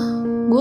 aku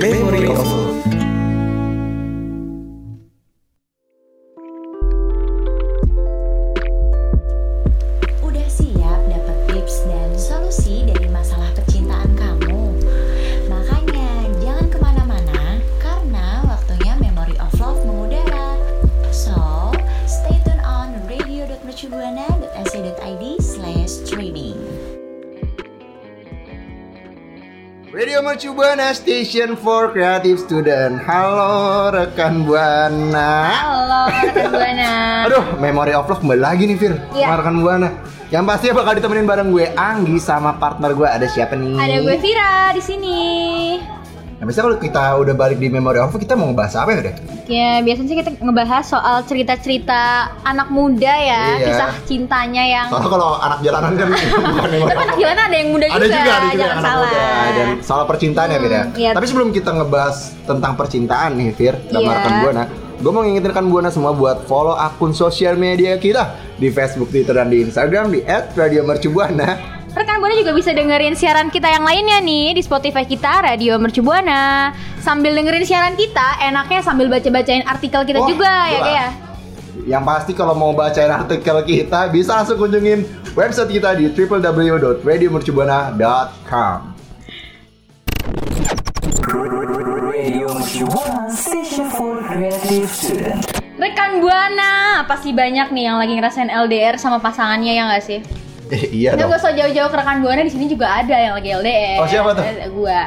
Memory of Love. Udah siap dapat tips dan solusi dari masalah percintaan kamu? Makanya jangan kemana-mana karena waktunya Memory of Love mengudara. So, stay tune on radio.mercubuana.ac.id slash streaming. Radio Mercu Buana Station for Creative Student. Halo rekan Buana. Halo, rekan Buana. Aduh, Memory of Love kembali lagi nih Fir. Iya. Sama rekan Buana. Yang pasti bakal ditemenin bareng gue Anggi sama partner gue ada siapa nih? Ada gue Vira di sini. Nah, biasanya kalau kita udah balik di Memory of Love, kita mau ngebahas apa ya, Fir? Ya, biasanya sih kita ngebahas soal cerita-cerita anak muda ya, Iya. kisah cintanya yang Soalnya kalau anak jalanan kan bukan Memory Tapi of anak Love. gimana ada yang muda Ada juga, juga, ada juga jangan anak salah. muda. Dan soal percintaan ya, Fir ya. Hmm, iya. Tapi sebelum kita ngebahas tentang percintaan nih, Fir, dan Iya. rekan Buana, gue mau ngingetin rekan Buana semua buat follow akun sosial media kita di Facebook, Twitter, dan di Instagram di @radiomercubuana. Rekan Buana juga bisa dengerin siaran kita yang lainnya nih di Spotify kita Radio Mercu Buana. Sambil dengerin siaran kita, enaknya sambil baca-bacain artikel kita Wah, juga ya, jelas. Kak, ya. Yang pasti kalau mau bacain artikel kita bisa langsung kunjungin website kita di www.radiomercubuana.com. Rekan Buana, pasti banyak nih yang lagi ngerasain LDR sama pasangannya ya nggak sih? Eh, iya Nggak dong. gak usah jauh-jauh ke rekan buana di sini juga ada yang lagi LDR. Oh, siapa tuh? Ada Gua.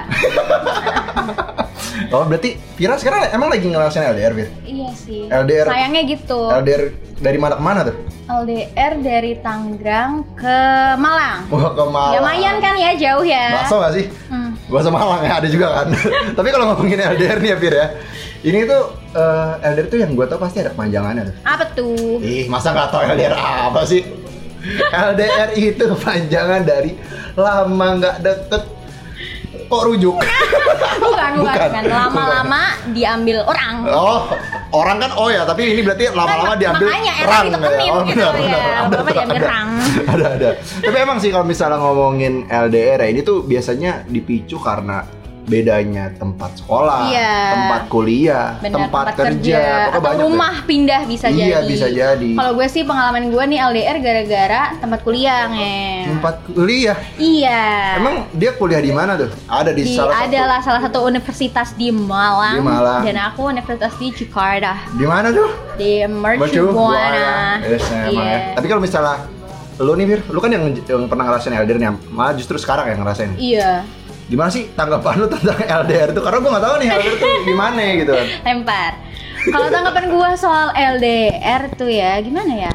Oh berarti Vira sekarang emang lagi ngelaksanain LDR, Fir? iya sih. LDR. Sayangnya gitu. LDR dari mana ke mana tuh? LDR dari Tangerang ke Malang. Wah ke Malang. Lumayan kan ya jauh ya. Bakso gak sih? Hmm. Bakso Malang ya ada juga kan. Tapi kalau ngomongin LDR nih ya Fir ya. Ini tuh eh, LDR tuh yang gue tau pasti ada kepanjangannya tuh. Apa tuh? Ih masa nggak tau LDR apa sih? LDR itu kepanjangan dari lama nggak deket kok rujuk. Bukan, bukan, Bukan. bukan. Lama-lama diambil orang. Oh, orang kan oh ya, tapi ini berarti lama-lama Mak- diambil Kan, Oh, makanya enak rang ditekenin gitu ya. ada, Lama-lama diambil ada. rang. Ada ada. Tapi emang sih kalau misalnya ngomongin LDR ya, ini tuh biasanya dipicu karena bedanya tempat sekolah, Iya. tempat kuliah, Benar, tempat, kerja, pokoknya atau banyak rumah pindah bisa Iya, jadi. bisa jadi. Kalau gue sih pengalaman gue nih LDR gara-gara tempat kuliah, deh. Nge. Tempat kuliah. Iya. Emang dia kuliah di mana tuh? Ada di, di salah satu- adalah salah satu universitas di Di Malang, Malang. dan aku universitas di Jakarta Di mana tuh? di Mercu Mercu Buana. Buana. ya. Yes, emang ya. Iya. Tapi kalau misalnya lu nih Fir, lu kan yang, yang pernah ngerasain LDR nih, malah justru sekarang yang ngerasain. Iya, gimana sih tanggapan lu tentang LDR tuh? Karena gue gak tahu nih LDR tuh gimana ya gitu kan. lempar. Kalau tanggapan gua soal LDR tuh ya, gimana ya?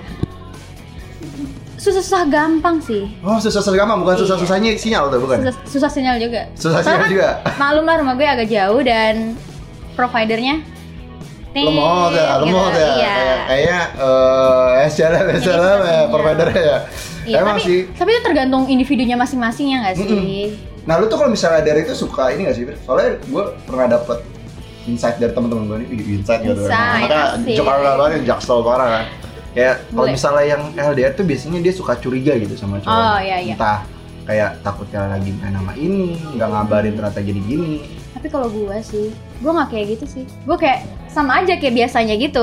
Susah-susah gampang sih. Oh susah-susah gampang, Iya. bukan susah-susahnya sinyal tuh, bukan? Susah, susah sinyal juga. Susah Soalnya sinyal juga. Maklum lah rumah gue agak jauh dan providernya Lemot ya, ting, lemot gitu. ya. Iya. Kayak- Kayaknya eh SLM, SLM ya, susah providernya ya. Iya, Emang tapi, sih. tapi itu tergantung individunya masing-masing ya nggak sih? Nah lu tuh kalau misalnya LDR itu suka ini gak sih? Fir? Soalnya gue pernah dapet insight dari teman-teman gue nih, Ih, insight gitu. Insight, Maka asik. Jakarta banget yang jaksel parah kan. Kayak kalau Boleh. misalnya yang LDR tuh biasanya dia suka curiga gitu sama cowok. Oh, iya, iya. Entah kayak takutnya lagi main nama ini, nggak ngabarin ternyata jadi gini. tapi kalau gue sih gue nggak kayak gitu sih gue kayak sama aja kayak biasanya gitu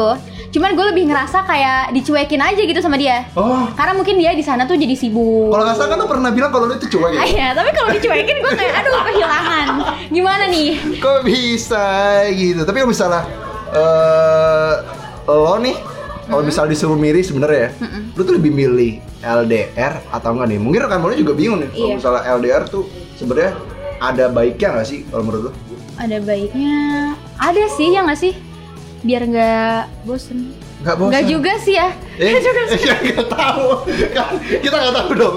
cuman gue lebih ngerasa kayak dicuekin aja gitu sama dia Oh, karena mungkin dia di sana tuh jadi sibuk kalau nggak salah kan tuh pernah bilang kalau lu itu cuek ya? Ah, iya, tapi kalau dicuekin gue kayak aduh kehilangan gimana nih Kok bisa gitu? Tapi kalau misalnya eh lo nih kalau misalnya disuruh milih sebenarnya ya, lu tuh lebih milih LDR atau enggak nih? Mungkin rekan lo juga bingung nih kalau Iya. misalnya LDR tuh sebenarnya ada baiknya nggak sih kalau menurut lu? ada baiknya ada sih ya nggak sih biar nggak bosen Nggak bosan. Nggak juga sih ya. Eh, Nggak juga sih. ya nggak tahu. Kan, Kita nggak tahu dong.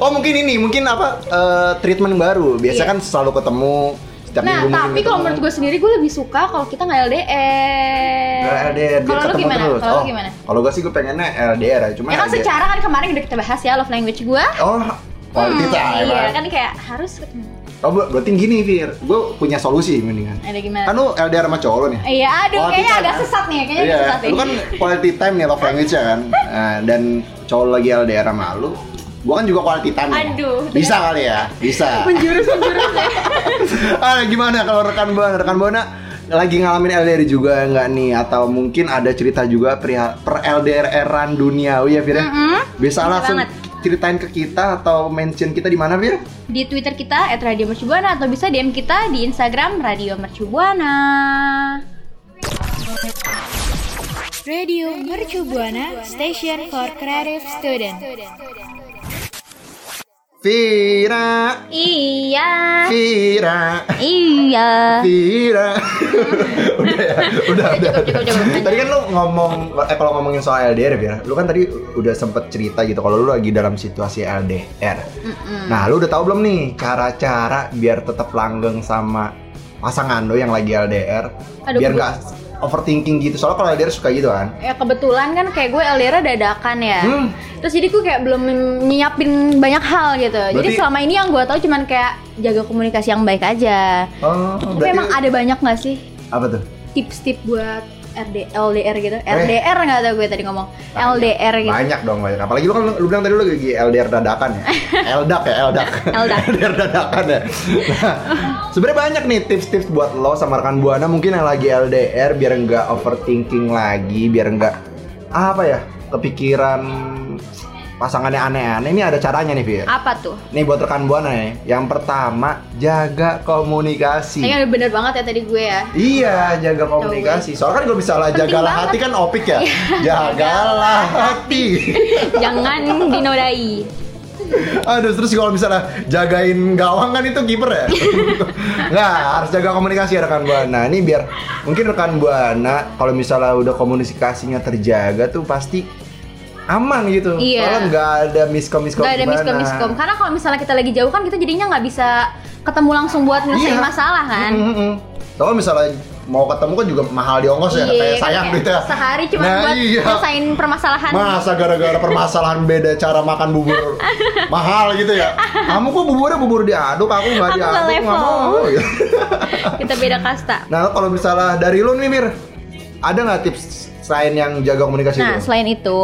Oh mungkin ini, mungkin apa eh, treatment baru. Biasa Iya. kan selalu ketemu setiap Nah, minggu. mungkin tapi kalau ketemu. menurut gue sendiri gue lebih suka kalau kita nggak LDR. Nggak LDR, biar Kalau lu ketemu gimana? terus. Kalau lu Oh, gimana? Kalau gue sih gue pengennya LDR ya, cuma Ya kan LDR. secara kan kemarin udah kita bahas ya love language gue. Oh, quality time. iya ah. kan kayak harus ketemu. Oh, ber- berarti gini, Fir. Gue punya solusi mendingan. Ada gimana? Kan lu LDR sama cowok lu nih. Iya, aduh Quality kayaknya time, agak ah. sesat nih, kayaknya agak sesat nih. lu kan quality time nih love language ya kan. Nah, dan cowok lagi LDR sama lu, gua kan juga quality time. ya. Aduh. Bisa kali ya? Bisa. menjurus menjurus ya. ah, gimana kalau rekan buana, rekan buana lagi ngalamin LDR juga nggak nih atau mungkin ada cerita juga perihal per LDR-eran duniawi ya Fir ya? Hmm, Bisa Bisa langsung banget. ceritain ke kita atau mention kita di mana Fir? Di Twitter kita @radiomercubuana atau bisa DM kita di Instagram Radio Mercubuana. Radio Mercu Buana Station for Creative Student. Vira, Iya. Vira, Iya. Vira. udah ya, udah, udah. Cukup, cukup, cukup. Tadi kan lu ngomong, eh kalau ngomongin soal LDR ya, lu kan tadi udah sempet cerita gitu kalau lu lagi dalam situasi LDR. Hmm. Nah, lu udah tahu belum nih cara-cara biar tetap langgeng sama pasangan lu yang lagi LDR, Aduh, biar gue- nggak overthinking gitu. Soalnya kalau LDR suka gitu kan. Ya kebetulan kan kayak gue LDR dadakan ya. Hmm. Terus jadi gue kayak belum nyiapin banyak hal gitu. jadi Berarti- selama ini yang gue tahu cuman kayak jaga komunikasi yang baik aja. Oh, Tapi berarti- emang ada banyak nggak sih apa tuh? tips-tips buat RD, LDR gitu? Eh. RDR nggak tahu gue tadi ngomong. LDR gitu. Banyak dong banyak. Apalagi lu kan lu bilang tadi lu lagi LDR dadakan ya. LDAK ya, LDAK. LDAK. LDR dadakan ya. Nah, sebenarnya banyak nih tips-tips buat lo sama rekan Buana mungkin yang lagi LDR biar nggak overthinking lagi, biar nggak apa ya, kepikiran pasangannya aneh-aneh. Ini ada caranya nih, Fir. Apa tuh? Nih buat rekan Buana nih. Yang pertama, jaga Kayaknya komunikasi. udah bener banget ya tadi gue ya. Iya, jaga komunikasi. Soalnya kan gue bisa lah Penting jagalah banget. Iya. hati kan opik ya. Jagalah hati. Jangan dinodai. Aduh, terus kalau misalnya jagain gawang kan itu kiper ya? Nggak, harus jaga komunikasi ya rekan Buana. Ini biar mungkin rekan Buana kalau misalnya udah komunikasinya terjaga tuh pasti aman gitu. Iya. Soalnya nggak ada miskom miskom. Gak ada kan? miskom miskom. Karena kalau misalnya kita lagi jauh kan kita jadinya nggak bisa ketemu langsung buat nyelesain Iya. masalah kan. Soalnya misalnya mau ketemu kan juga mahal di ongkos ya, kayak kan sayang kayak gitu ya. Sehari cuma Nah, buat iya. nyelesain permasalahan. Masa gara-gara permasalahan beda cara makan bubur mahal gitu ya? Kamu kok buburnya bubur diaduk, aku nggak Aku nggak diaduk, nggak level. mau. gitu. Kita beda kasta. Nah, kalau misalnya dari lu nih Mir, ada nggak tips selain yang jaga komunikasi Nah, itu? selain itu,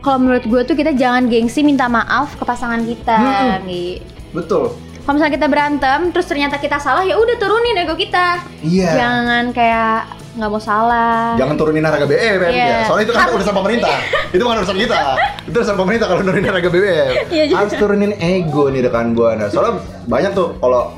kalau menurut gue tuh kita jangan gengsi minta maaf ke pasangan kita, Mm-mm. Mi. Betul. Kalau misalnya kita berantem, terus ternyata kita salah, ya udah turunin ego kita. Iya. Jangan kayak nggak mau salah. Jangan turunin harga BBM Iya. ya. Soalnya itu kan urusan pemerintah. itu bukan urusan kita. Itu urusan pemerintah kalau nurunin harga BBM. Iya juga. Harus turunin ego nih rekan buana. Soalnya banyak tuh kalau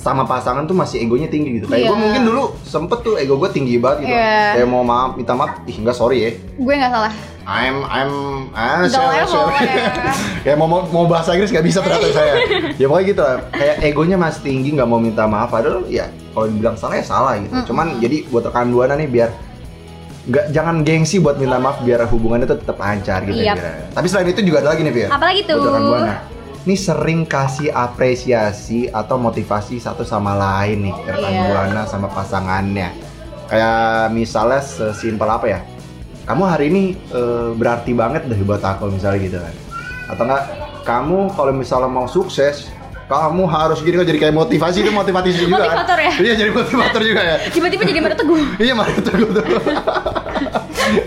sama pasangan tuh masih egonya tinggi gitu. Kayak Iya. gue mungkin dulu sempet tuh ego gue tinggi banget gitu. Iya. Kayak mau maaf, minta maaf, ih enggak sorry ya. Gue nggak salah. I'm I'm ah, Udah siapa- level siapa- ya. kayak mau mau mau bahasa Inggris nggak bisa ternyata saya ya pokoknya gitu lah kayak egonya masih tinggi nggak mau minta maaf padahal ya kalau dibilang salah ya salah gitu cuman jadi buat rekan buana nih biar nggak jangan gengsi buat minta maaf biar hubungannya tuh tetap lancar gitu ya Yap. kira. tapi selain itu juga ada lagi nih Fir Apalagi tuh? buat rekan buana nah. ini sering kasih apresiasi atau motivasi satu sama lain nih rekan Iya. buana sama pasangannya kayak misalnya sesimpel apa ya kamu hari ini eh, berarti banget deh buat aku misalnya gitu kan atau enggak kamu kalau misalnya mau sukses kamu harus gini kan jadi kayak motivasi itu motivasi juga kan? Motivator ya? iya jadi motivator juga ya Tiba-tiba jadi menurut teguh. iya mana tuh tuh kayak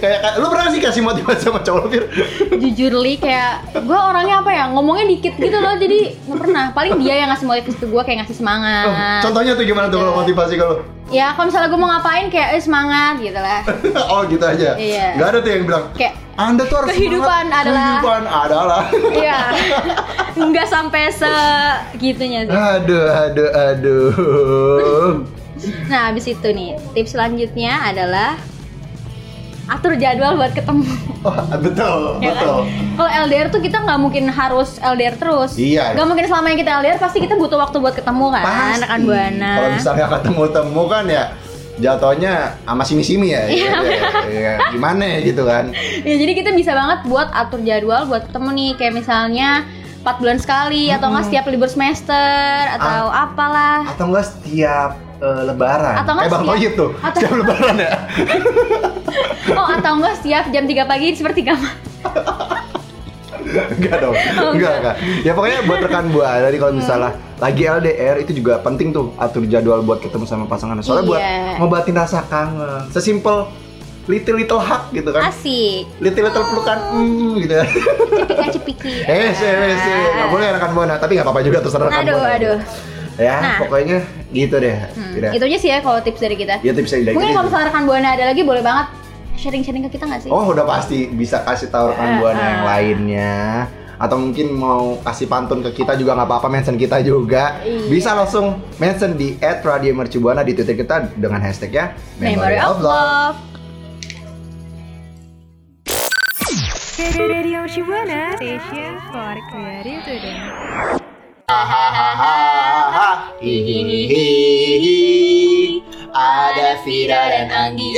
kayak- lu pernah sih kasih motivasi sama cowok lu Fir? Jujur li kayak gue orangnya apa ya ngomongnya dikit gitu loh jadi nggak pernah. Paling dia yang ngasih motivasi ke gue kayak ngasih semangat. Oh, contohnya tuh gimana tuh kalau motivasi kalau Ya kalau misalnya gue mau ngapain kayak eh, semangat gitu lah. oh gitu aja Iya. nggak ada tuh yang bilang Kayak anda tuh harus Kehidupan semangat. adalah- kehidupan adalah Iya. Enggak sampai segitunya sih. aduh aduh aduh Nah, habis itu nih, tips selanjutnya adalah atur jadwal buat ketemu. Oh, betul, Ya kan? betul. Kalau LDR tuh kita nggak mungkin harus LDR terus. Iya. Nggak mungkin selama yang kita LDR pasti kita butuh waktu buat ketemu kan, Pasti. rekan buana. Kalau misalnya ketemu temu kan ya jatuhnya sama simi-simi Iya. ya, ya, ya, ya, gimana ya gitu kan Ya jadi kita bisa banget buat atur jadwal buat ketemu nih kayak misalnya 4 bulan sekali atau nggak setiap libur semester atau apalah. atau enggak setiap eh, lebaran Atau enggak kayak bang setiap- Toyib tuh atau- setiap lebaran ya Oh, atau enggak setiap jam 3 pagi seperti kamu. enggak dong Oh, enggak enggak ya pokoknya buat rekan buah dari kalau misalnya lagi LDR itu juga penting tuh atur jadwal buat ketemu sama pasangan soalnya buat Iya. ngobatin rasa kangen sesimpel little little hug gitu kan Asik. little little pelukan Oh. mm, gitu kan Cepika-cepiki. eh sih eh, sih nggak boleh rekan buana tapi nggak apa-apa juga terserah rekan Aduh, buana aduh. ya Nah. pokoknya gitu deh Ira. Itu aja sih ya kalau tips dari kita. ya tipsnya dari Mungkin kita kalau itu. misalnya rekan Buana ada lagi boleh banget sharing-sharing ke kita nggak sih? oh udah pasti bisa kasih tahu rekan buana Eh, yang eh. lainnya atau mungkin mau kasih pantun ke kita juga nggak apa-apa mention kita juga Iya. bisa langsung mention di @radiomercubuana di twitter kita dengan hashtagnya Memory of Love. Radio Shibuana Station for Creative Student. Hahaha, hihihihi. Ada Vira dan Anggi.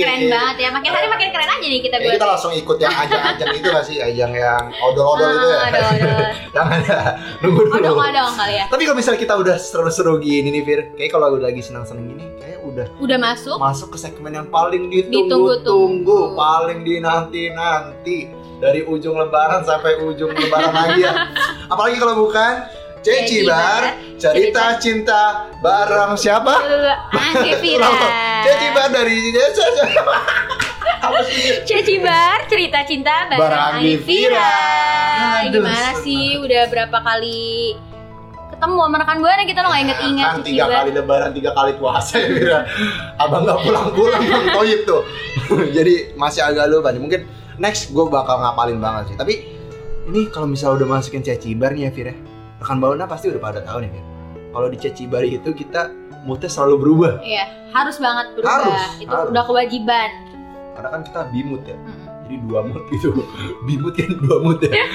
Keren banget ya. Makin hari makin keren aja nih kita Ya, kita buat. Ah, langsung ikut yang ajang-ajang itu gak sih? Ajang yang odol-odol itu ya? Odol-odol. yang ada, nunggu dulu. Odong-odong kali ya. Tapi kalau misalnya kita udah seru-seru gini nih, Fir. Kayaknya kalau udah lagi senang-senang gini, kayak udah Udah masuk masuk ke segmen yang paling ditunggu-tunggu, Oh. Ditunggu-tunggu. paling dinanti-nanti dari ujung lebaran sampai ujung lebaran lagi ya. Apalagi kalau bukan Ceci Ceci Bar, Bar, cerita cinta bareng siapa? Anggi Vira. Ulang tuh. Ceci Bar dari Apa sih? Ceci Bar, cerita cinta Barang bareng Anggi Anggi Vira. Vira. Aduh, Gimana senang. sih udah berapa kali ketemu sama rekan Buana kita lo nggak inget-inget kan Ceci tiga Bar. kali lebaran tiga kali puasa ya Mira. abang nggak pulang-pulang bang Toyib tuh jadi masih agak lupa nih mungkin next gue bakal ngapalin banget sih tapi ini kalau misalnya udah masukin cecibar nih ya Fira rekan bauna pasti udah pada tahu nih Fir kalau di cecibar itu kita moodnya selalu berubah Iya, harus banget berubah. Harus, Itu harus. udah kewajiban. karena kan kita bimut ya Mm. jadi dua mood gitu bimut kan dua mood ya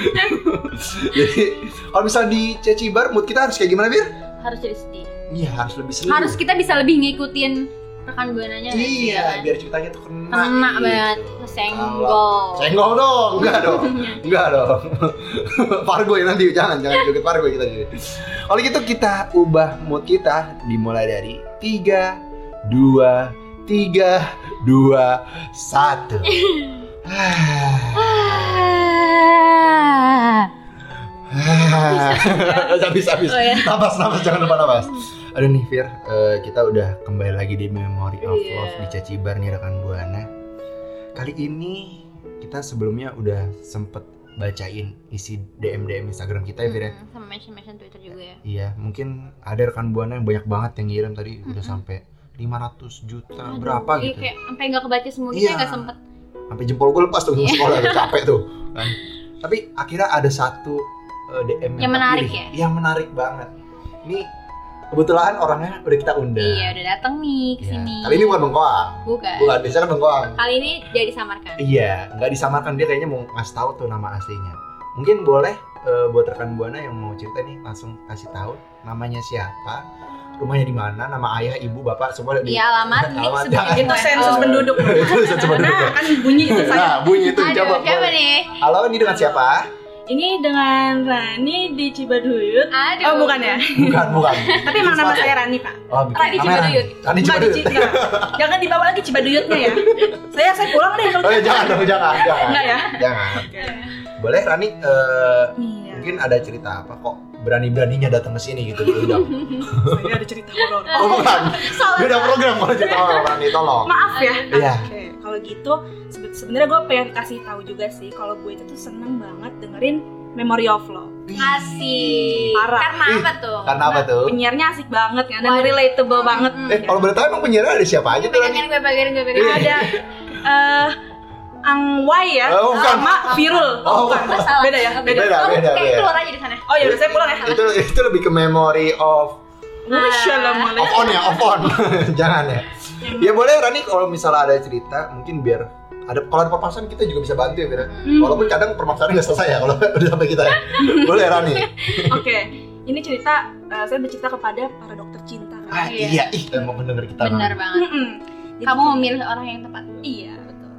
jadi kalau misalnya di cecibar mood kita harus kayak gimana Fir? Harus jadi sedih. Iya harus lebih seru Harus kita bisa lebih ngikutin rekan buananya nggak sih, ya Iya, kan? biar ceritanya tuh kena. Kena gitu. banget, kesenggol. Senggol dong, enggak dong. Enggak dong. Fargo ya nanti jangan jangan joget Fargo kita jadi. Oleh itu kita ubah mood kita dimulai dari 3 2 3 2 1. Ah. habis habis Oh, ya. nafas nafas jangan lupa nafas aduh nih Fir eh, kita udah kembali lagi di Memory of Iya. Love di Cacibar nih rekan buana kali ini kita sebelumnya udah sempet bacain isi DM DM Instagram kita ya Fir ya Mm, Sama mention-mention Twitter juga ya. iya mungkin ada rekan buana yang banyak banget yang ngirim tadi udah Mm-mm. sampai 500 juta Aduh, berapa iya, gitu kayak sampai nggak kebaca semua Iya. kita nggak sempet sampai jempol gue lepas tuh Iya. sekolah tuh, capek tuh kan. tapi akhirnya ada satu eh, DM Yang menarik ya? terpilih, yang menarik banget ini kebetulan orangnya udah kita undang iya udah datang nih ke Iya. sini Iya. kali ini bukan bengkoang bukan bukan biasanya kan bengkoang kali ini jadi samarkan iya nggak disamarkan dia kayaknya mau ngasih tahu tuh nama aslinya mungkin boleh eh, buat rekan buana yang mau cerita nih langsung kasih tahu namanya siapa rumahnya di mana nama ayah ibu bapak semua ada di iya alamat nik Alamat, sebelum jangan. gitu Itu sensus penduduk. Itu sensus penduduk. Nah, kan bunyi itu saya. nah bunyi itu aduh coba siapa nih halo ini dengan siapa Ini dengan Rani di Cibaduyut. aduh Oh, bukan ya. Bukan, bukan. Tapi emang nama saya Rani, Pak. Oh, bikin Radit kamera. Cibaduyut. Radit Bukan di Cibaduyut. Ci- enggak. Jangan dibawa lagi Cibaduyutnya ya. Saya saya pulang deh kalau Oh gitu. ya, jangan dong, jangan, jangan. Enggak ya? Jangan. Boleh Rani eh, Iya. mungkin ada cerita apa kok berani-beraninya datang ke sini gitu diundang. Saya ada cerita horor. Oh, bukan. Beda program kalau cerita sama Rani tolong. Maaf ya. Iya. Oke, kalau gitu sebe- sebenarnya gue pengen kasih tahu juga sih kalau gue itu tuh seneng banget dengerin Memory of Love. ngasih Parah. karena Ih, apa tuh Karena apa tuh? Penyiarnya asik banget kan dan Waduh. relatable banget. Eh, kalau boleh tahu emang penyiar ada siapa aja tuh Rani? pegangin gue pegangin gue pegangin Ada eh Ang Wai ya, Oh, bukan. sama Virul. Oh, bukan. salah. Beda ya, beda. Beda, Kamu Iya, beda, kayak beda. keluar aja di sana Oh ya, udah saya pulang ya. Itu itu lebih ke memory of Wassalamualaikum. Off on ya, off on. Jangan ya. Ya boleh Rani kalau misalnya ada cerita mungkin biar ada kalau ada permasalahan kita juga bisa bantu ya Fira. Walaupun kadang permasalahan nggak selesai ya kalau udah sampai kita. ya. Boleh Rani. Oke, ini cerita eh, saya bercerita kepada para dokter cinta. ah iya ih emang pendengar kita Benar banget. Mm-mm. Jadi Kamu cerita- memilih orang yang tepat. Hmm. Iya betul.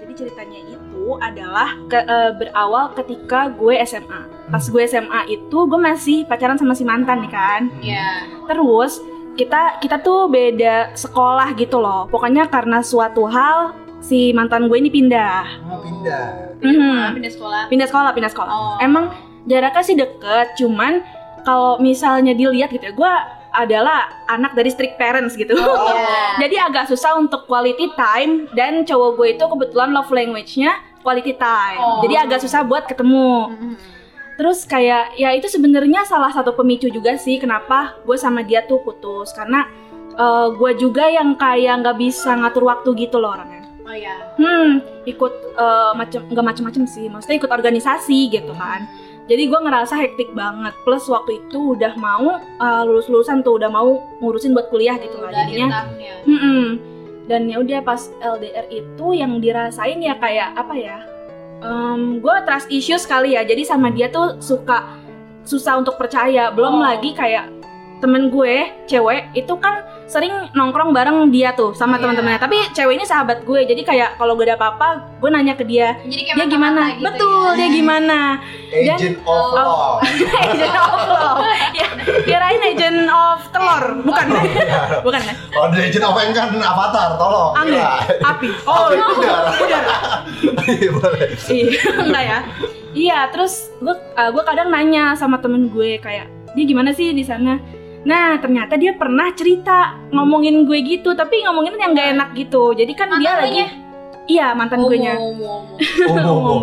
Jadi ceritanya itu adalah ke- eh, berawal ketika gue SMA. Pas gue SMA itu gue masih pacaran sama si mantan nih kan. Iya. Terus kita kita tuh beda sekolah gitu loh. Pokoknya karena suatu hal si mantan gue ini pindah. mau pindah Pindah sekolah, Mhm. pindah sekolah. Pindah sekolah, pindah sekolah. Oh. Emang jaraknya sih deket, cuman kalau misalnya dilihat gitu ya, gue adalah anak dari strict parents gitu. Iya. Jadi agak susah untuk quality time dan cowok gue itu kebetulan love language-nya quality time. Oh. Jadi agak susah buat ketemu. Mhm. Terus kayak ya itu sebenarnya salah satu pemicu juga sih kenapa gue sama dia tuh putus karena eh, gue juga yang kayak nggak bisa ngatur waktu gitu loh orangnya. Oh iya. Hmm, ikut eh, macem nggak macem-macem sih, maksudnya ikut organisasi gitu kan. Jadi gue ngerasa hektik banget. Plus waktu itu udah mau eh, lulus-lulusan tuh udah mau ngurusin buat kuliah gitu lah Udah jadinya. hitungnya. Mm-mm. Dan ya udah pas LDR itu yang dirasain ya kayak apa ya? gue trust issues kali ya. Jadi sama dia tuh suka susah untuk percaya. Belum Oh. lagi kayak temen gue cewek itu kan sering nongkrong bareng dia tuh sama Iya. teman-temannya. Tapi cewek ini sahabat gue. Jadi kayak kalau gue ada apa-apa, gue nanya ke dia, Jadi kayak dia mata-mata Ya, gimana? gitu Betul, ya. dia gimana? agent of law agent of love. Ya, kirain agent of telur, bukan? bukan ya? oh the agent of yang kan avatar tolong Angin, api. Oh, iya. Api udara. Iya, boleh. Iya, enggak ya. Iya, terus gue gue kadang nanya sama temen gue kayak dia gimana sih di sana. Nah, ternyata dia pernah cerita ngomongin gue gitu, tapi ngomongin yang gak enak gitu. Jadi kan Mantan dia lagi guenya? Oh. Iya, mantan gue nya. Wow, wow, Oh, wow. oh, oh.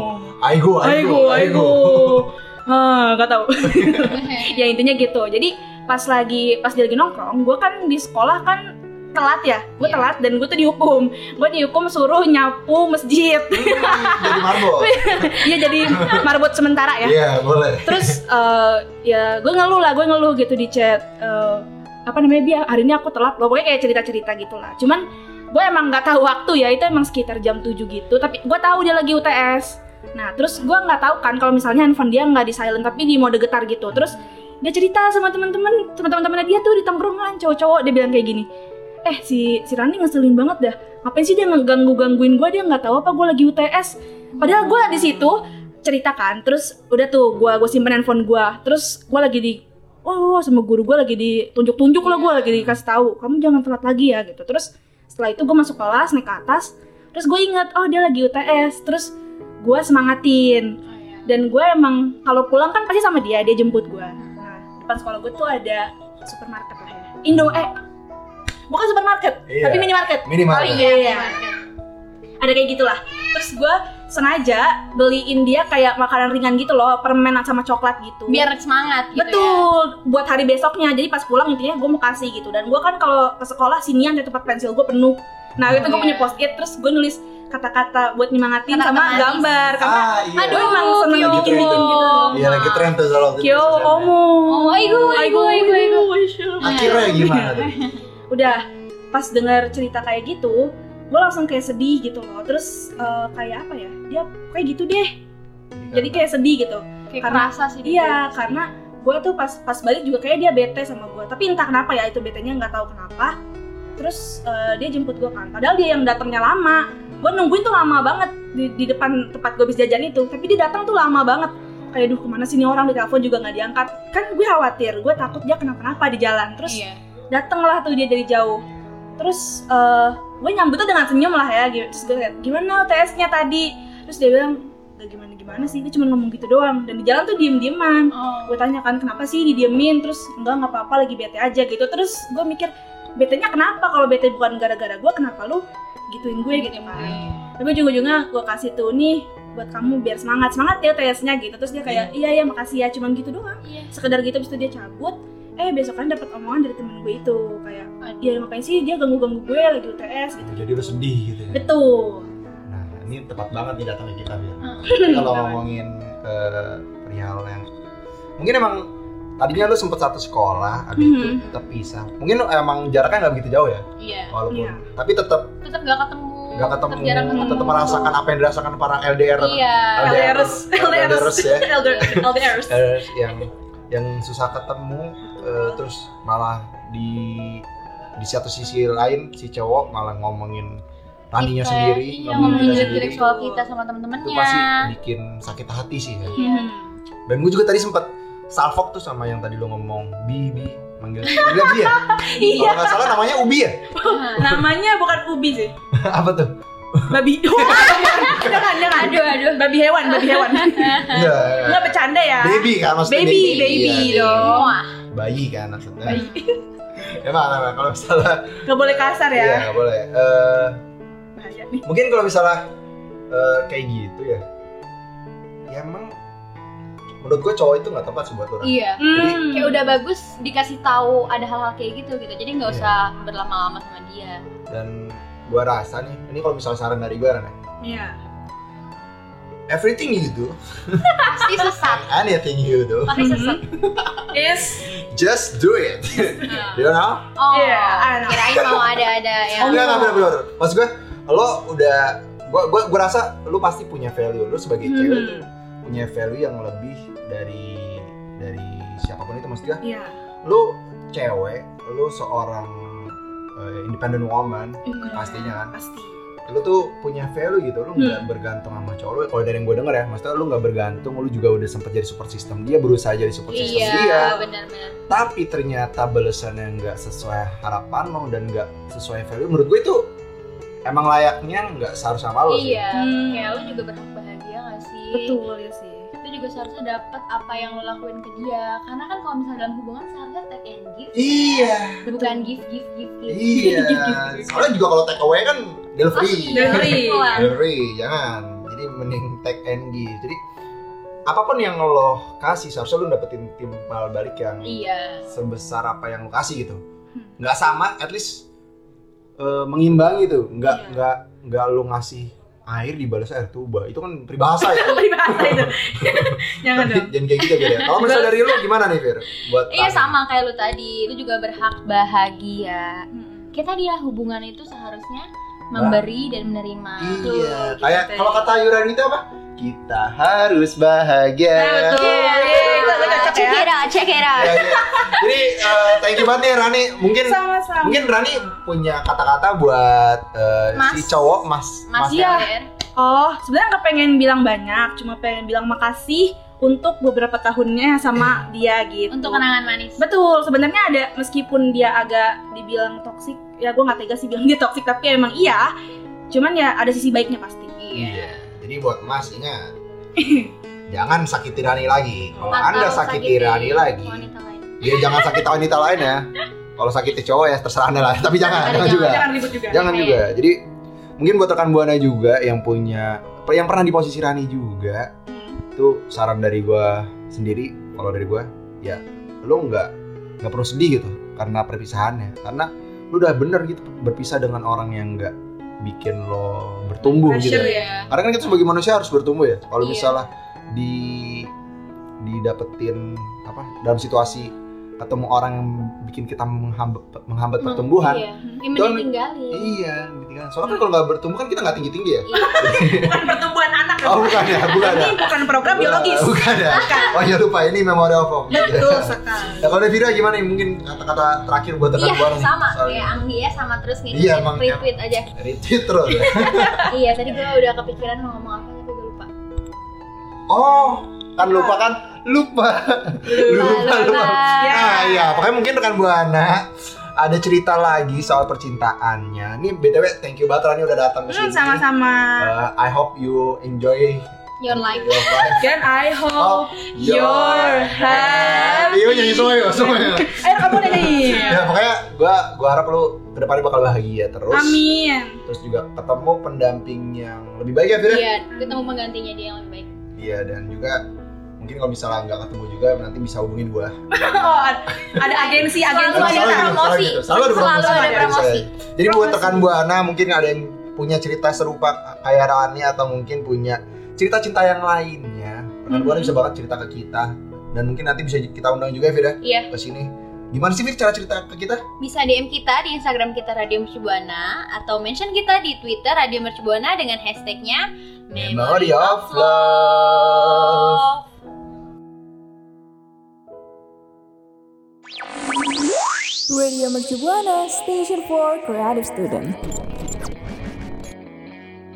Aigo, aigo, Aigo, aigo. Ah, gak tahu. Hehehe. ya intinya gitu. Jadi pas lagi pas dia lagi nongkrong, gue kan di sekolah kan telat ya, gue Iya. telat dan gue tuh dihukum, gue dihukum suruh nyapu masjid, Jadi marbot. dia jadi marbot sementara ya. Iya, boleh. terus eh, ya gue ngeluh lah gue ngeluh gitu di chat eh, apa namanya dia hari ini aku telat loh pokoknya kayak cerita cerita gitulah cuman gue emang nggak tahu waktu ya itu emang sekitar jam 7 gitu tapi gue tahu dia lagi UTS nah terus gue nggak tahu kan kalau misalnya handphone dia nggak di silent tapi di mode getar gitu terus dia cerita sama teman-teman sama teman-temannya dia tuh di tongkrongan cowok-cowok dia bilang kayak gini eh si si Rani ngeselin banget dah ngapain sih dia ngeganggu gangguin gue dia nggak tahu apa gue lagi UTS padahal gue di situ ceritakan terus udah tuh gue gue simpen handphone gue terus gue lagi di oh sama guru gue lagi ditunjuk-tunjuk lah gue lagi dikasih tahu kamu jangan telat lagi ya gitu terus setelah itu gue masuk kelas naik ke atas terus gue inget oh dia lagi UTS terus gue semangatin Oh, iya. dan gue emang kalau pulang kan pasti sama dia dia jemput gue nah depan sekolah gue tuh ada supermarket lah ya Indo eh bukan supermarket Iya. tapi minimarket Minimal. iya iya ada kayak gitulah terus gue sengaja beliin dia kayak makanan ringan gitu loh permen sama coklat gitu Biar semangat gitu ya. Betul, buat hari besoknya. Jadi pas pulang intinya gue mau kasih gitu. Dan gue kan kalau ke sekolah sinian di tempat pensil gue penuh. Nah itu gue iya. punya post it, terus gue nulis kata-kata buat nyemangatin Kata-kata sama manis. gambar. Karena Ah, iya. gue emang seneng Kyo. bikin gitu. Iya, lagi tren tuh kalau di Kyo, sosial media. omo. Oh, aigo, aigo, aigo, aigo. Akhirnya gimana tuh? Udah, pas dengar cerita kayak gitu, gue langsung kayak sedih gitu loh. Terus eh, kayak apa ya? Dia kayak gitu deh. Iya. Jadi kayak sedih gitu. Kayak Karena- kerasa sih di Iya, situ. karena gue tuh pas pas balik juga kayak dia bete sama gue. Tapi entah kenapa ya itu betenya nggak tahu kenapa. Terus eh, dia jemput gue kan. Padahal dia yang datangnya lama. Gue nungguin tuh lama banget di, di depan tempat gue bis jajan itu. Tapi dia datang tuh lama banget. Kayak duh kemana sih nih orang ditelepon juga nggak diangkat. Kan gue khawatir, gue takut dia kenapa-napa di jalan. Terus Iya. datanglah tuh dia dari jauh terus eh gue nyambutnya dengan senyum lah ya gitu. terus gue kayak gimana UTS-nya tadi terus dia bilang gak gimana gimana sih dia cuma ngomong gitu doang dan di jalan tuh diem dieman Oh. gue tanya kan kenapa sih didiemin terus enggak nggak apa apa lagi bete aja gitu terus gue mikir betenya kenapa kalau bete bukan gara-gara gue kenapa lu gituin gue gitu kan Hmm. tapi ujung-ujungnya gue kasih tuh nih buat kamu biar semangat semangat ya tesnya gitu terus dia kayak iya iya makasih ya cuman gitu doang Iya. sekedar gitu abis itu dia cabut eh besokan dapat omongan dari temen gue itu kayak Aduh. dia ngapain sih dia ganggu ganggu gue lagi UTS gitu Jadi lu sedih gitu ya. betul Nah, ini tepat banget nih datangnya kita ya. Hmm. Kalau ngomongin ke perihal yang mungkin emang tadinya lu sempet satu sekolah, habis itu Mm-hmm. Mhm. terpisah. Mungkin lu emang jaraknya nggak begitu jauh ya, Iya. walaupun Iya. tapi tetap Tetap gak ketemu. nggak ketemu, Tetap jarang ketemu. tetap merasakan apa yang dirasakan para LDR. Iya. LDRs LDRs ya. LDRs LDRs LDRs yang yang susah ketemu, eh, terus malah di di satu sisi lain si cowok malah ngomongin raninya Kita- sendiri, iya, ngomongin ngomongin kita jelek-jelek sendiri, soal kita sama itu pasti temen-temennya bikin sakit hati sih ya. Iya. Dan gue juga tadi sempet salfok tuh sama yang tadi lo ngomong Bibi manggil manggil Bi ya? Iya. Kalau nggak salah namanya Ubi ya? Namanya bukan ubi sih. Apa tuh? Babi. jangan, jangan. Aduh, aduh. Babi hewan, babi hewan. Iya. Enggak bercanda ya. Baby kan maksudnya. Baby, baby Iya, dong. Bayi kan maksudnya. Emang, emang kalau misalnya Gak boleh kasar Iya, ya. nggak boleh. Eh, Bahaya nih. mungkin kalau misalnya eh, kayak gitu ya, ya emang menurut gue cowok itu nggak tepat sih buat lo. Ran. iya Hmm. kayak udah bagus dikasih tahu ada hal-hal kayak gitu gitu jadi Iya. nggak usah berlama-lama sama dia Dan gue rasa nih, ini kalau misalnya saran dari gue, Ran, ya, Iya. everything you do, pasti sesat anything you do, pasti Mm-hmm. sesat Is just do it. you know? oh Iya, I know. kirain mau ada-ada yang Iya, Enggak, enggak, bener, bener. Maksud gue, lo udah, gue gua, gua rasa lo pasti punya value. Lo sebagai cewek tuh Hmm. punya value yang lebih dari dari siapapun itu maksudnya Iya. lu cewek, lu seorang eh, independent woman pastinya kan. Pasti. Lu tuh punya value gitu, lu nggak bergantung sama cowok lu. Kalau dari yang gue denger ya, maksudnya lu nggak bergantung, lu juga udah sempat jadi support system dia, berusaha jadi support system dia. iya benar-benar Tapi ternyata balasannya nggak sesuai harapan lo dan nggak sesuai value. Menurut gue itu emang layaknya nggak seharus sama lo sih. iya Hmm. kayak lu juga berhak bahagia gak sih Betul ya sih. itu juga seharusnya dapet apa yang lo lakuin ke dia karena kan kalau misalnya dalam hubungan seharusnya take and give Iya, bukan give give give give Oh, iya. Soalnya juga kalau take away kan Ah, delivery. Delivery. Pelan. Delivery, jangan. Jadi mending take and give. Jadi apapun yang lo kasih seharusnya lo dapetin timbal balik yang iya sebesar apa yang lo kasih gitu. Nggak sama, at least eh, mengimbangi tuh. Nggak Iya. nggak nggak lo ngasih air dibalas air tuba. Itu kan peribahasa ya. Beri bahasa itu. Jangan Tapi dong. Jangan kayak gitu Fir, ya. Kalau misalnya dari lo gimana nih Fir? Buat Iya Tami. sama kayak lu tadi, lu juga berhak bahagia. Kita dia hubungan itu seharusnya memberi dan menerima. Iya, gitu Tuh, kayak kita- kalau kata Yuran itu apa? Kita harus bahagia. Nah, Iya, Iya. ya? Check it out, check it out. Ya, ya. Jadi eh, thank you banget nih Rani. Mungkin Sama-sama. mungkin Rani punya kata-kata buat eh, Mas. si cowok Mas. Mas Iya. Yair. Oh, sebenarnya nggak pengen bilang banyak, cuma pengen bilang makasih untuk beberapa tahunnya sama Iya. dia gitu. untuk kenangan manis. Betul, sebenarnya ada meskipun dia agak dibilang toksik, ya gue nggak tega sih bilang dia toksik, tapi emang iya. Cuman ya ada sisi baiknya pasti. Iya. Jadi buat Mas ingat jangan sakiti Rani lagi. Kalau Atau Anda sakiti Rani lagi, wanita lain. ya jangan sakiti wanita lain ya. Kalau sakiti cowok ya terserah Anda lah, tapi jangan, jangan Tapi jangan, juga. Jangan ribut juga. Jangan Iya. juga. Jadi mungkin buat rekan Buana juga yang punya yang pernah di posisi Rani juga itu saran dari gua sendiri kalau dari gua ya lo nggak nggak perlu sedih gitu karena perpisahannya karena lu udah bener gitu berpisah dengan orang yang nggak bikin lo bertumbuh gitu Pressure Iya. karena kan kita sebagai manusia harus bertumbuh ya kalau Iya. misalnya di didapetin apa dalam situasi ketemu orang yang bikin kita menghambat menghambat Meng- pertumbuhan Iya. Hmm. Ini Jangan- ditinggalin. Iya, gitu kan. Soalnya kan kalau nggak bertumbuh kan kita nggak tinggi tinggi ya. Bukan pertumbuhan anak. Oh bukan ya, bukan ya. Ini bukan program Bukan- Iya. biologis. Bukan ya. Oh ya lupa ini memori of Betul sekali. Ya kalau Devira gimana nih mungkin kata-kata terakhir buat rekan Iya, buana nih? sama Soal kayak Anggi ya sama terus nge Iya, emang, retweet aja. Retweet terus. ya. iya, tadi gue udah kepikiran mau ngomong apa tapi gue lupa. Oh, kan lupa kan? Iya. Lupa. Lupa, lupa. Ya. Nah, iya, pokoknya mungkin rekan buana ada cerita lagi soal percintaannya. Ini btw, thank you banget Rani udah datang ke Hmm, sini. sama-sama. Eh, I hope you enjoy Your life. your life. Dan I hope Oh, your happy. Iya nyanyi semua ya, semua ya. Ayo kamu udah nyanyi. Ya pokoknya gua gua harap lu kedepannya bakal bahagia terus. Amin. Terus juga ketemu pendamping yang lebih baik ya Fir. ya? Iya, ketemu penggantinya dia yang lebih baik. Iya dan juga mungkin kalau misalnya nggak ketemu juga nanti bisa hubungin gua. Oh, ada- ada agensi, Selalu agensi Selalu ada gitu, promosi. selalu gitu. Selalu ada promosi. Selalu ada Iya, promosi. saya. Jadi buat rekan buana mungkin ada yang punya cerita serupa kayak Rani atau mungkin punya cerita cinta yang lainnya. Rekan Hmm. buana bisa banget cerita ke kita dan mungkin nanti bisa kita undang juga ya, Fir ya Iya. ke sini. Gimana sih Fir cara cerita ke kita? Bisa DM kita di Instagram kita Radio Mercubuana atau mention kita di Twitter Radio Mercubuana dengan hashtagnya Memory of Love. Radio Mercubuana, station for creative student.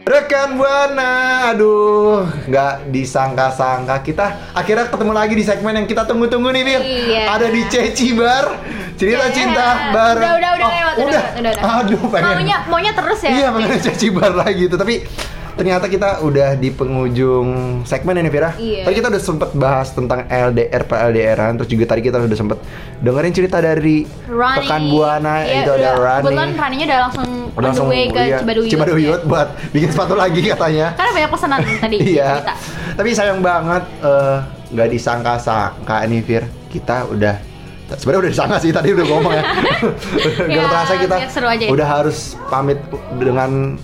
Rekan Buana, aduh, nggak disangka-sangka kita akhirnya ketemu lagi di segmen yang kita tunggu-tunggu nih, Fir. Iya. Ada di Ceci Bar, cerita Iya. cinta bar. Udah, udah, udah Oh, lewat, udah. udah lewat, udah, udah. Aduh, pengen. Maunya, maunya terus ya. Iya, pengen Ceci Bar lagi tuh, tapi ternyata kita udah di penghujung segmen ini, Fira. Iya. Tadi kita udah sempet bahas tentang LDR, PLDR-an, terus juga tadi kita udah sempet dengerin cerita dari Rani. rekan Buana, Iya, itu ada udah. Rani. Kebetulan Raninya udah langsung on the way ke iya, Cibaduyut. Cibaduyut ya. buat bikin sepatu lagi katanya. Karena banyak pesanan tadi. Iya. kita. Tapi sayang banget eh, nggak disangka-sangka nih Fir, kita udah sebenarnya udah disangka sih tadi udah ngomong ya. Gak Ya, terasa kita biar seru aja ya. udah harus pamit dengan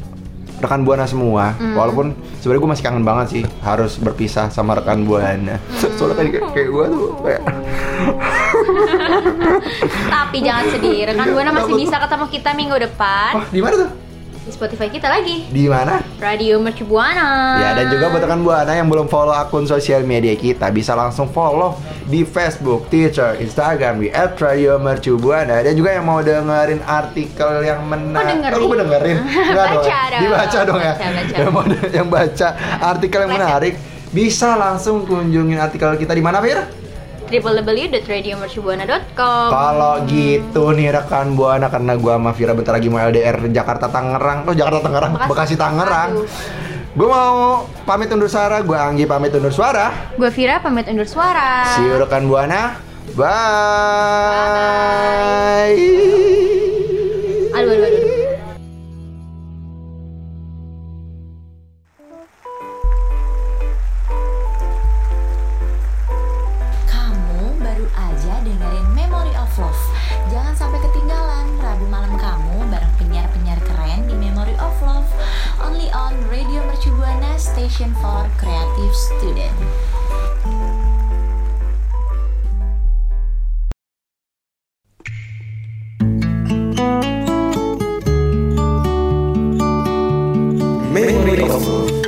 rekan buana semua. Walaupun sebenarnya gue masih kangen banget sih harus berpisah sama rekan buana. Soalnya tadi kayak, kayak gue tuh kayak Tapi jangan sedih, rekan Buana masih bisa ketemu kita minggu wah depan di mana tuh? di Spotify kita lagi. Di mana? Radio Mercu Buana. Ya dan juga buat rekan buana yang belum follow akun sosial media kita bisa langsung follow di Facebook, Twitter, Instagram di @radiomercubuana dan juga yang mau dengerin artikel yang Kok menarik. dengerin? Aku dengerin. Enggak dong. ya? Baca dong. Dibaca dong ya. Baca, baca. Yang mau de- yang baca artikel yang Baca. menarik bisa langsung kunjungin artikel kita di mana, Fir? www.radiomercubuana.com Kalau gitu nih rekan buana karena gua sama Vira bentar lagi mau LDR Jakarta Tangerang. Oh Jakarta Tangerang, Bekasi Bekasi. Tangerang. Aduh. Gue mau pamit undur suara, gue Anggi pamit undur suara. Gue Vira pamit undur suara. See you rekan Buana. Bye. Aduh, aduh, aduh. Kamu baru aja dengerin Memory of Love. Jangan sampai ketinggalan Rabu malam kamu bareng penyiar-penyiar keren di Memory of Love. Only on Radio Mercubuana Station for Creative Student. Memory of Love